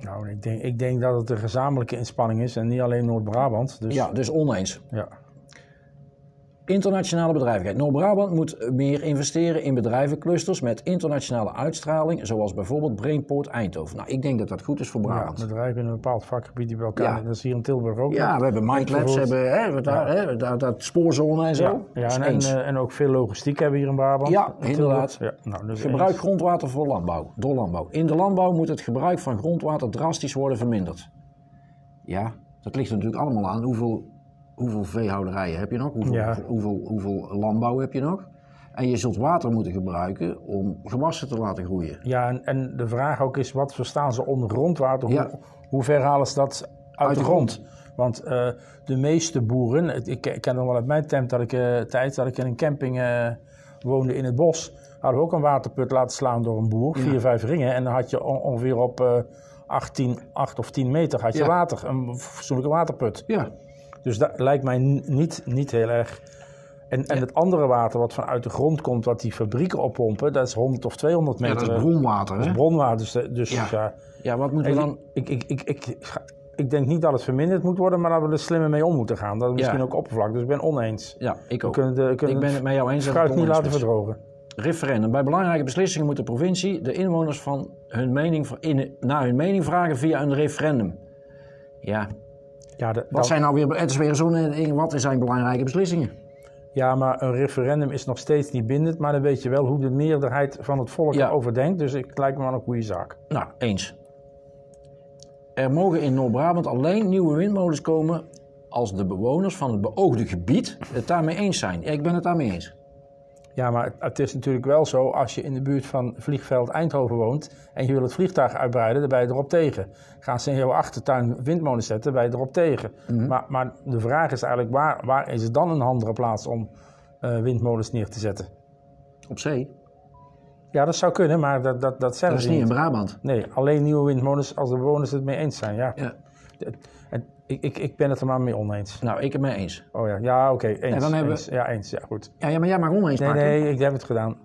S1: Nou, ik denk, ik denk dat het een
S2: dus
S1: gezamenlijke inspanning is en niet alleen Noord-Brabant. Dus,
S2: Ja, dus oneens.
S1: ja.
S2: Internationale bedrijvigheid. Noord-Brabant moet meer investeren in bedrijvenclusters met internationale uitstraling, zoals bijvoorbeeld Brainport Eindhoven. Nou, ik denk dat dat goed is voor
S1: Ja,
S2: Brabant.
S1: bedrijven in een bepaald vakgebied die bij elkaar.
S2: Ja.
S1: Dat is hier in Tilburg ook.
S2: Ja, we hebben Mindlabs,
S1: Bijvoorbeeld-
S2: hebben hè, we daar, hè, daar, dat spoorzone en zo.
S1: Ja, ja,
S2: Dat is
S1: en, en,
S2: eens.
S1: eh, en ook veel logistiek hebben we hier in Brabant.
S2: Ja,
S1: In Tilburg.
S2: inderdaad.
S1: Ja, nou, dus
S2: Gebruik
S1: eens.
S2: grondwater voor landbouw, door landbouw. In de landbouw moet het gebruik van grondwater drastisch worden verminderd. Ja, dat ligt er natuurlijk allemaal aan. Hoeveel, hoeveel veehouderijen heb je nog? Hoeveel,
S1: Ja.
S2: hoeveel, hoeveel landbouw heb je nog? En je zult water moeten gebruiken om gewassen te laten groeien.
S1: Ja, en, en de vraag ook is, wat verstaan ze onder grondwater? Hoe,
S2: Ja.
S1: hoe ver halen ze dat uit, de grond? Want eh, de meeste boeren, het- ik, ik ken nog wel uit mijn temp dat ik, eh, tijd dat ik in een camping eh, woonde in het bos, hadden we ook een waterput laten slaan door een boer, vier, vijf ringen. En dan had je on- ongeveer op eh 18, 8 of 10 meter had je
S2: Ja.
S1: water, een fatsoenlijke waterput.
S2: Ja,
S1: Dus dat lijkt mij n- niet, niet heel erg. En, en het andere water wat vanuit de grond komt, wat die fabrieken oppompen, dat is 100 of 200
S2: ja
S1: meter.
S2: dat is bronwater.
S1: Dat
S2: Hè?
S1: is bronwater. Dus, de- dus
S2: Ja.
S1: ja.
S2: Ja, wat moeten
S1: En
S2: we dan...
S1: Ik, ik, ik, ik, ik, ga- ik denk niet dat het verminderd moet worden, maar dat we er slimmer mee om moeten gaan. Dat is misschien ook oppervlak, dus ik ben oneens.
S2: Ja, ik
S1: We
S2: ook.
S1: kunnen, de, we kunnen
S2: Ik ben het met jou eens dat
S1: fruit
S2: het
S1: niet
S2: oneens
S1: laten
S2: is.
S1: verdrogen.
S2: Referendum. Bij belangrijke beslissingen moet de provincie de inwoners van hun mening, vra- in, naar hun mening vragen via een referendum. Ja,
S1: Ja, de-
S2: Wat
S1: dat-
S2: zijn nou weer, het is weer zo'n eh, ding, wat zijn belangrijke beslissingen?
S1: ja, maar een referendum is nog steeds niet bindend, maar dan weet je wel hoe de meerderheid van het volk
S2: Ja.
S1: erover denkt. Dus ik het lijkt me wel een goede zaak.
S2: Nou, eens. Er mogen in Noord-Brabant alleen nieuwe windmolens komen als de bewoners van het beoogde gebied het daarmee eens zijn. Ja, ik ben het daarmee eens.
S1: Ja, maar het- het is natuurlijk wel zo, als je in de buurt van vliegveld Eindhoven woont en je wil het vliegtuig uitbreiden, dan ben je erop tegen. Gaan ze in jouw achtertuin windmolens zetten, ben je erop tegen.
S2: Mhm.
S1: maar, maar de vraag is eigenlijk, waar, waar is het dan een handige plaats om eh, windmolens neer te zetten?
S2: Op zee.
S1: Ja, dat zou kunnen, maar dat, dat, dat
S2: Dat
S1: zeggen
S2: is
S1: ze
S2: niet in
S1: niet.
S2: Brabant.
S1: Nee, alleen nieuwe windmolens als de bewoners het mee eens zijn, ja.
S2: Ja.
S1: Het- En ik, ik, ik ben het er maar mee oneens.
S2: Nou, ik het mee eens.
S1: Oh ja, ja oké, eens.
S2: dan hebben we-
S1: eens. Ja, eens, ja, goed.
S2: Ja, ja maar jij mag oneens
S1: Nee,
S2: maken.
S1: nee, ik heb het gedaan.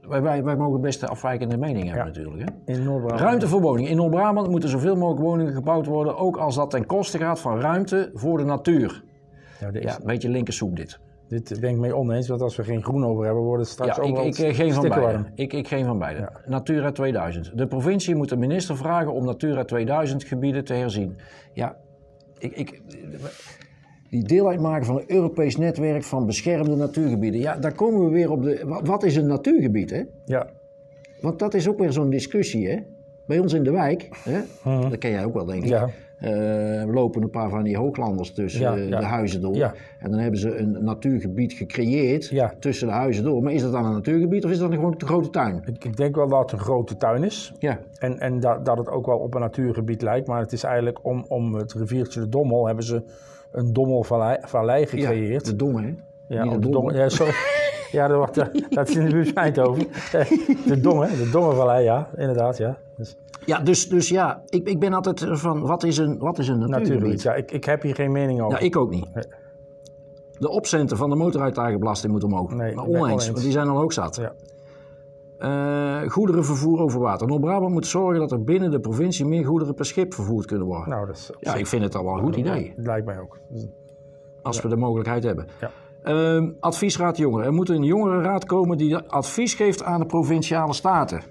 S2: Wij, wij, wij mogen best een afwijkende mening hebben
S1: Ja.
S2: natuurlijk. Hè?
S1: In Noord-Brabant.
S2: Ruimte voor woningen. In Noord-Brabant moeten zoveel mogelijk woningen gebouwd worden, ook als dat ten koste gaat van ruimte voor de natuur.
S1: Ja, er is-
S2: Ja, een beetje linkersoep dit.
S1: Dit ben ik mee oneens, want als we geen groen over hebben, worden het straks
S2: Ja, ik,
S1: overal
S2: ik, eh, geen van
S1: stikkenwarm.
S2: beide. Ik, ik geen van beide. Natura 2000. De provincie moet de minister vragen om Natura 2000 gebieden te herzien. Ja, ik, ik, die deel uitmaken van een Europees netwerk van beschermde natuurgebieden. Ja, daar komen we weer op de... Wat, wat is een natuurgebied, hè?
S1: Ja,
S2: Want dat is ook weer zo'n discussie, hè? Bij ons in de wijk, hè? dat ken jij ook wel, denk ik.
S1: Ja.
S2: Eh, lopen een paar van die hooglanders tussen
S1: Ja,
S2: eh,
S1: ja.
S2: de huizen door.
S1: Ja.
S2: En dan hebben ze een natuurgebied gecreëerd
S1: Ja.
S2: tussen de huizen door. Maar is dat dan een natuurgebied of is dat dan gewoon een grote tuin?
S1: ik, ik denk wel dat het een grote tuin is.
S2: Ja,
S1: En, en dat, dat het ook wel op een natuurgebied lijkt. Maar het is eigenlijk om, om het riviertje de Dommel hebben ze een Dommelvallei vallei
S2: ja.
S1: gecreëerd.
S2: de domme, hè?
S1: Ja,
S2: niet de
S1: op de
S2: Dommel.
S1: Dommel. Ja, sorry. ja dat, wordt, eh, dat is in de buurt van Eindhoven. Eh, De Dongen, de Dongenvallei, ja, inderdaad, ja. Dus,
S2: Ja, dus, dus ja, ik, ik ben altijd van, wat is een, wat is een natuurgebied?
S1: natuurgebied, ja. Ik, ik heb hier geen mening over.
S2: Ja, Nou, ik ook niet.
S1: Nee.
S2: De opcenten van de motoruitdagenbelasting moet omhoog.
S1: Nee,
S2: maar
S1: ik ben
S2: oneens,
S1: oneens.
S2: want die zijn al ook zat.
S1: Ja.
S2: Eh, goederenvervoer over water. Noord-Brabant moet zorgen dat er binnen de provincie meer goederen per schip vervoerd kunnen worden.
S1: Nou, dat is...
S2: ja, ik vind het al wel een goed idee,
S1: Dat lijkt mij ook. Dus-
S2: als we de mogelijkheid hebben.
S1: Ja.
S2: Ehm, adviesraad jongeren. Er moet een jongerenraad komen die advies geeft aan de provinciale staten.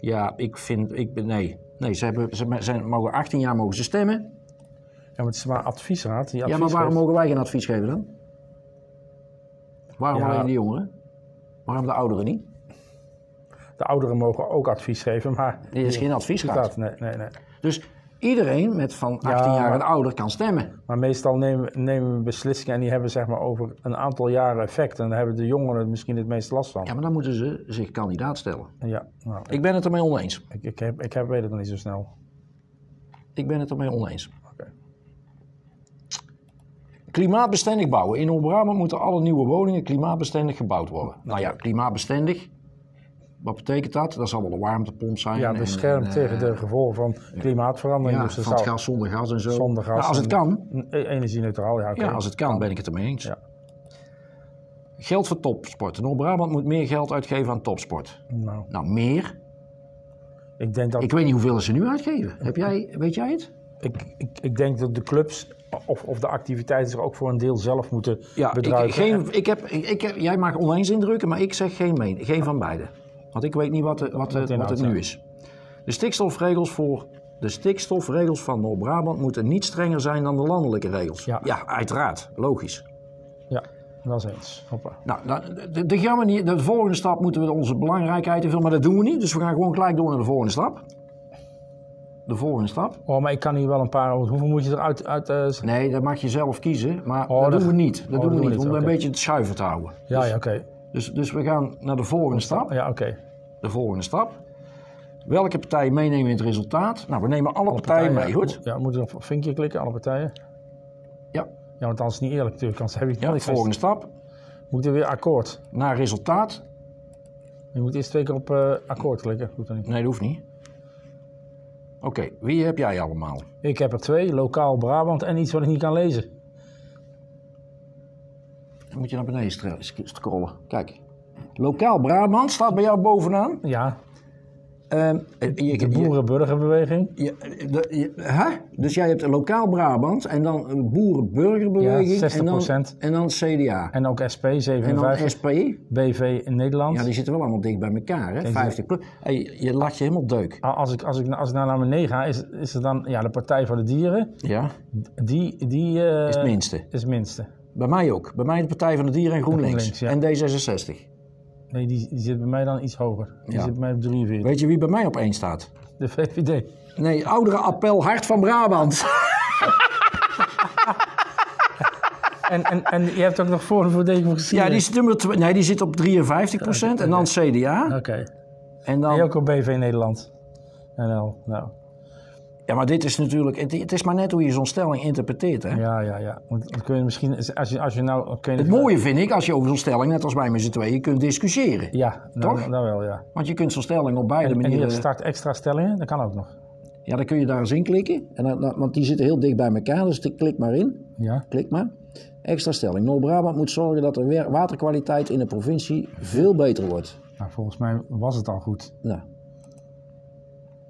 S2: Ja, ik vind, ik, ben- nee. Nee, ze, hebben, ze zijn, mogen 18 jaar mogen ze stemmen.
S1: Ja, maar het is maar adviesraad. Die
S2: ja,
S1: advies
S2: maar waarom
S1: geeft.
S2: mogen wij geen advies geven dan? Waarom
S1: Ja.
S2: alleen de jongeren? Waarom de ouderen niet?
S1: De ouderen mogen ook advies geven, maar...
S2: Dit is geen adviesraad.
S1: Inderdaad, nee, nee, nee.
S2: Dus iedereen met van 18 jaar en
S1: maar-
S2: ouder kan stemmen.
S1: Maar meestal nemen, nemen we beslissingen en die hebben zeg maar over een aantal jaren effect. En daar hebben de jongeren misschien het meest last van.
S2: Ja, maar dan moeten ze zich kandidaat stellen.
S1: Ja, nou,
S2: Ik ben het ermee oneens.
S1: ik, ik, heb, ik heb, weet het nog niet zo snel.
S2: Ik ben het ermee oneens.
S1: Oké.
S2: Klimaatbestendig bouwen. In Noord-Brabant moeten alle nieuwe woningen klimaatbestendig gebouwd worden. Nou ja, klimaatbestendig. Wat betekent dat? Dat zal wel een warmtepomp zijn.
S1: Ja,
S2: en-
S1: beschermd
S2: en, eh,
S1: tegen de gevolgen van klimaatverandering.
S2: Ja,
S1: dus dat
S2: van het
S1: zou-
S2: gas zonder gas en zo.
S1: zonder gas.
S2: Nou, als het
S1: en-
S2: kan.
S1: en Energie-neutraal, ja. oké.
S2: Ja, als het kan, ben ik het ermee eens.
S1: Ja.
S2: Geld voor topsport. Noord-Brabant moet meer geld uitgeven aan topsport.
S1: Nou,
S2: Nou, meer.
S1: ik denk dat...
S2: Ik weet niet hoeveel ze nu uitgeven. Heb jij, weet jij het?
S1: ik, ik, ik denk dat de clubs of, of de activiteiten zich ook voor een deel zelf moeten
S2: Ja, ik,
S1: bedruipen.
S2: geen, ik heb, ik, ik heb, jij mag oneens indrukken, maar ik zeg geen, meen, geen van beide. Want ik weet niet wat, de- wat, de- wat
S1: inhoud
S2: het
S1: zijn.
S2: nu is. De stikstofregels, voor, de stikstofregels van Noord-Brabant moeten niet strenger zijn dan de landelijke regels.
S1: Ja.
S2: uiteraard. Logisch.
S1: Ja, dat is eens. Hoppa.
S2: Nou, dan- de, de, gaan we niet- de volgende stap moeten we onze belangrijkheid invullen, maar dat doen we niet. Dus we gaan gewoon gelijk door naar de volgende stap. De volgende stap.
S1: Oh, maar ik kan hier wel een paar... Hoeveel moet je eruit... Uit, eh, z-
S2: Nee, dat mag je zelf kiezen, maar
S1: Oh,
S2: dat,
S1: dat-
S2: doen we niet. Dat doen we niet, om
S1: oké.
S2: een beetje het zuiver te houden.
S1: ja, ja, oké.
S2: Dus, dus we gaan naar de volgende stap.
S1: Ja, oké.
S2: de volgende stap. Welke partij meenemen in het resultaat? Nou, we nemen alle, partijen, mee, goed?
S1: Ja, moeten we op een vinkje klikken, alle partijen?
S2: Ja,
S1: Ja, want anders is het niet eerlijk natuurlijk. Anders heb je het
S2: ja de
S1: niet.
S2: volgende stap.
S1: Moet er weer akkoord.
S2: Naar resultaat.
S1: Je moet eerst twee keer op eh, akkoord klikken. Goed dan niet.
S2: Nee, dat hoeft niet. Oké, wie heb jij allemaal?
S1: Ik heb er twee, lokaal Brabant en iets wat ik niet kan lezen.
S2: Dan moet je naar beneden stra- sc- scrollen. Kijk. Lokaal Brabant staat bij jou bovenaan.
S1: Ja,
S2: Ehm, eh, je,
S1: de
S2: je-
S1: boerenburgerbeweging.
S2: je- de- je- hè? Dus jij hebt lokaal Brabant en dan een boerenburgerbeweging.
S1: Ja,
S2: en, dan,
S1: 60%.
S2: en dan CDA.
S1: En ook SP,
S2: En dan
S1: 57,
S2: SP.
S1: BV in Nederland.
S2: Ja, die zitten wel allemaal dicht bij elkaar, hè? 50 plus. Hey, je lacht je helemaal deuk.
S1: Al- Ah, Als ik, als, ik, als ik nou naar beneden ga, is, is er dan ja, de Partij voor de Dieren.
S2: Ja,
S1: Eh, Die, die eh,
S2: is het minste.
S1: is het minste.
S2: Bij mij ook. Bij mij de Partij van de Dieren en GroenLinks. En D66.
S1: Nee, die, die zit bij mij dan iets hoger. Die
S2: Ja.
S1: zit bij mij op 43.
S2: Weet je wie bij mij op één staat?
S1: De VVD.
S2: Nee, oudere appel Hart van Brabant.
S1: En, en, en je hebt ook nog voor voor tegen voor
S2: Ja,
S1: geschiedenis.
S2: die zit, nummer twee, nee, die zit op 53 En dan CDA.
S1: Oké.
S2: En
S1: En
S2: dan,
S1: ook op BV Nederland. NL, nou.
S2: ja, maar dit is natuurlijk... Het, het is maar net hoe je zo'n stelling interpreteert, hè?
S1: Ja, ja, ja. Want dan kun je misschien, als je, als je nou... Kun je
S2: Het mooie vind ik, als je over zo'n stelling, net als wij met z'n tweeën, kunt discussiëren.
S1: Ja, nou,
S2: Toch?
S1: nou wel, ja.
S2: Want je kunt zo'n stelling op beide
S1: En je
S2: manieren...
S1: start extra stellingen, dat kan ook nog.
S2: Ja, dan kun je daar eens in klikken. En dan, dan- want die zitten heel dicht bij elkaar, dus tik- klik maar in.
S1: Ja.
S2: Klik maar. Extra stelling. Noord-Brabant moet zorgen dat de wer- waterkwaliteit in de provincie veel beter wordt.
S1: Nou, volgens mij was het al goed.
S2: Nou.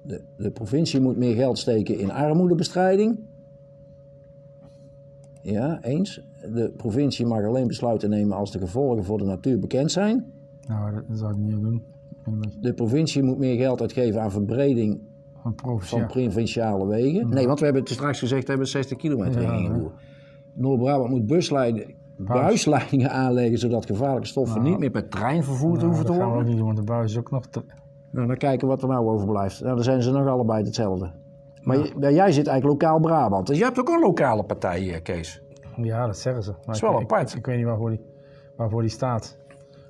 S2: De, de provincie moet meer geld steken in armoedebestrijding. Ja, eens. De provincie mag alleen besluiten nemen als de gevolgen voor de natuur bekend zijn.
S1: Nou, dat, dat zou ik niet doen. Ik ben een beetje
S2: De provincie moet meer geld uitgeven aan verbreding
S1: van
S2: van
S1: provinciaal.
S2: provinciale wegen. Nee, want we hebben het straks gezegd, we hebben 60
S1: Mhm.
S2: kilometer
S1: Ja,
S2: heen
S1: ja.
S2: ingevoerd. Noord-Brabant moet busleiden, buisleidingen aanleggen, zodat gevaarlijke stoffen niet meer per trein vervoerd
S1: Nou,
S2: hoeven te
S1: dat gaan we ook
S2: worden.
S1: niet doen, want de buis is ook nog... Te...
S2: Nou, dan kijken wat er nou overblijft. Nou, dan zijn ze nog allebei hetzelfde. Maar je- nou, jij zit eigenlijk lokaal Brabant. Dus jij hebt ook een lokale partij hier, Kees.
S1: Ja, dat zeggen ze. Maar
S2: is
S1: ik-
S2: wel
S1: ik,
S2: apart.
S1: Ik, ik weet niet waarvoor die, waarvoor die staat.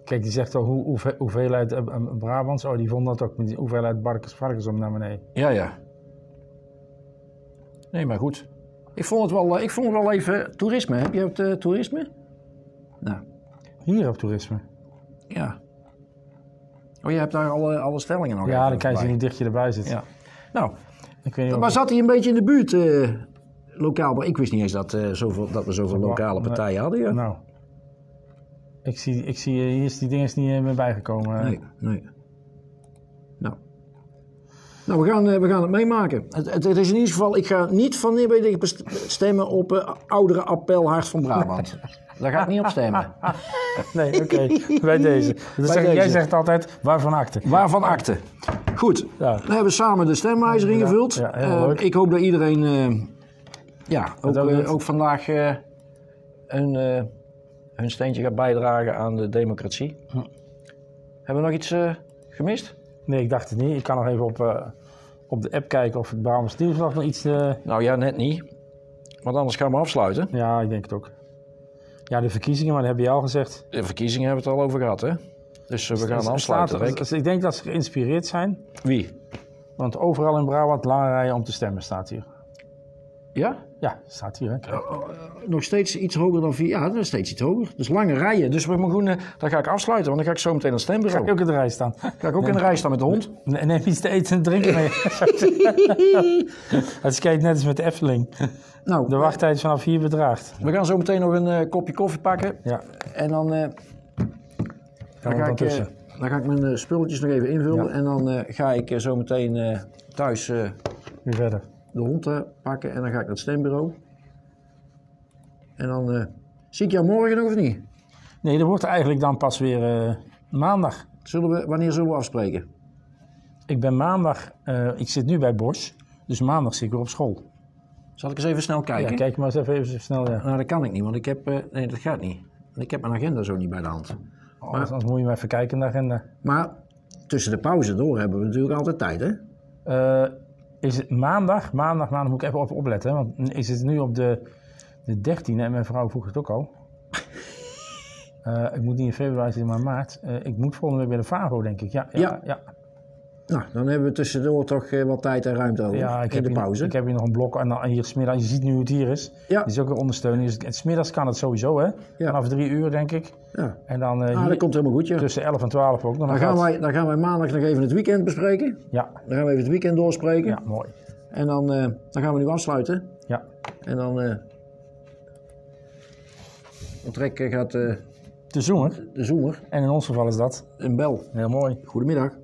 S1: Kijk, die zegt al hoe, hoeveel, hoeveelheid eh, eh, Brabants. Oh, die vond dat ook met die hoeveelheid Barkers Varkens om naar beneden.
S2: Ja, ja. Nee, maar goed. Ik vond het wel, eh, ik vond het wel even toerisme. Heb je ook eh, toerisme? Nou,
S1: Hier op toerisme.
S2: ja. Oh, je hebt daar alle, alle stellingen nog
S1: Ja,
S2: even
S1: dan kijk je
S2: bij.
S1: hoe dicht je erbij zit.
S2: Ja. Nou,
S1: Ik weet niet
S2: maar
S1: of-
S2: zat hij een beetje in de buurt eh, lokaal? Ik wist niet eens dat, eh, zoveel, dat we zoveel lokale
S1: nee.
S2: partijen hadden. Ja.
S1: Nou, ik zie, ik zie eh, hier is die ding is niet eh, meer bijgekomen.
S2: Nee, nee. Nou, nou we, gaan, eh, we gaan het meemaken. Het, het, het is in ieder geval, ik ga niet van Nibbe best- stemmen op eh, oudere appel Hart van Brabant. Daar ga ik niet op stemmen.
S1: Nee, oké. Bij deze. Dus zeg- Jij
S2: deze.
S1: zegt altijd waarvan akte.
S2: Waarvan akte? Goed,
S1: Ja.
S2: we hebben samen de stemwijzer ingevuld.
S1: ja, heel
S2: Eh,
S1: leuk.
S2: ik hoop dat iedereen eh, ja,
S1: ook
S2: ook, eh,
S1: doet.
S2: ook vandaag eh, een, eh, hun steentje gaat bijdragen aan de democratie. Hebben we nog iets eh, gemist?
S1: Nee, ik dacht het niet. Ik kan nog even op, eh, op de app kijken of het Brabants Nieuwsblad nog iets... eh,
S2: Nou ja, net niet. Want anders gaan we afsluiten.
S1: Ja, ik denk het ook. Ja, de verkiezingen, maar dat heb je al gezegd.
S2: De verkiezingen hebben we het al over gehad, hè? Dus eh, we gaan
S1: Het
S2: afsluiten.
S1: staat-
S2: Rick.
S1: dus ik denk dat ze geïnspireerd zijn,
S2: Wie?
S1: want overal in Brabant lange rijen om te stemmen staat hier.
S2: Ja?
S1: Ja, staat hier. Hè?
S2: Nog steeds iets hoger dan vier. Ja, dat is steeds iets hoger. Dus lange rijen. Dus we moeten, eh, dan ga ik afsluiten, want dan ga ik zo meteen naar het
S1: Ga
S2: stembureau.
S1: je ook in de rij staan?
S2: Ga ik ook in de rij staan met de hond.
S1: Ne- Neem iets te eten en drinken mee. Het skate net als met de Efteling.
S2: Nou,
S1: De wachttijd vanaf hier bedraagt.
S2: we gaan zo meteen nog een eh, kopje koffie pakken.
S1: Ja,
S2: En dan, eh, dan, ga ik, eh,
S1: ondertussen.
S2: dan ga ik mijn eh, spulletjes nog even invullen. En dan eh, ga ik eh, zo meteen eh, thuis eh,
S1: weer verder.
S2: de hond eh, pakken en dan ga ik naar het stembureau. En dan eh, zie ik jou morgen nog of niet?
S1: Nee, dat wordt eigenlijk dan pas weer eh, maandag.
S2: Zullen we, wanneer zullen we afspreken?
S1: Ik ben maandag, eh, ik zit nu bij Bosch, dus maandag zit ik weer op school.
S2: Zal ik eens even snel kijken?
S1: Ja, kijk maar eens even, even zo snel. Ja.
S2: Nou, dat kan ik niet, want ik heb... eh, nee, dat gaat niet. Want Ik heb mijn agenda zo niet bij de hand.
S1: Anders, anders moet je maar even kijken in de agenda.
S2: Maar tussen de pauze door hebben we natuurlijk altijd tijd, hè?
S1: Eh, is het maandag? Maandag, maandag moet ik even op opletten, hè, want is het nu op de, de 13e en mijn vrouw vroeg het ook al. Eh, ik moet niet in februari zitten, maar maart. Eh, ik moet volgende week bij de VARO, denk ik. Ja, ja,
S2: Ja.
S1: ja. ja.
S2: Nou, dan hebben we tussendoor toch eh, wat tijd en ruimte over.
S1: ik,
S2: in
S1: heb
S2: de
S1: hier,
S2: pauze.
S1: ik heb hier nog een blok en dan hier smiddags, je ziet nu hoe het hier is.
S2: Ja.
S1: Het is ook een ondersteuning. Dus het- smiddags kan het sowieso, hè?
S2: Ja.
S1: Vanaf drie uur, denk ik.
S2: Ja.
S1: En dan eh,
S2: Ah,
S1: hier
S2: dat komt helemaal goed, ja.
S1: tussen 11 en 12 ook nog
S2: Dan
S1: een
S2: gaan,
S1: gat.
S2: wij, dan gaan wij maandag nog even het weekend bespreken.
S1: Ja,
S2: Dan gaan we even het weekend doorspreken.
S1: ja, mooi.
S2: En dan, eh, dan gaan we nu afsluiten.
S1: Ja.
S2: En dan... eh want Rek eh, gaat eh,
S1: De zoemer,
S2: de zoemer,
S1: en in ons geval is dat
S2: een bel.
S1: heel mooi.
S2: Goedemiddag.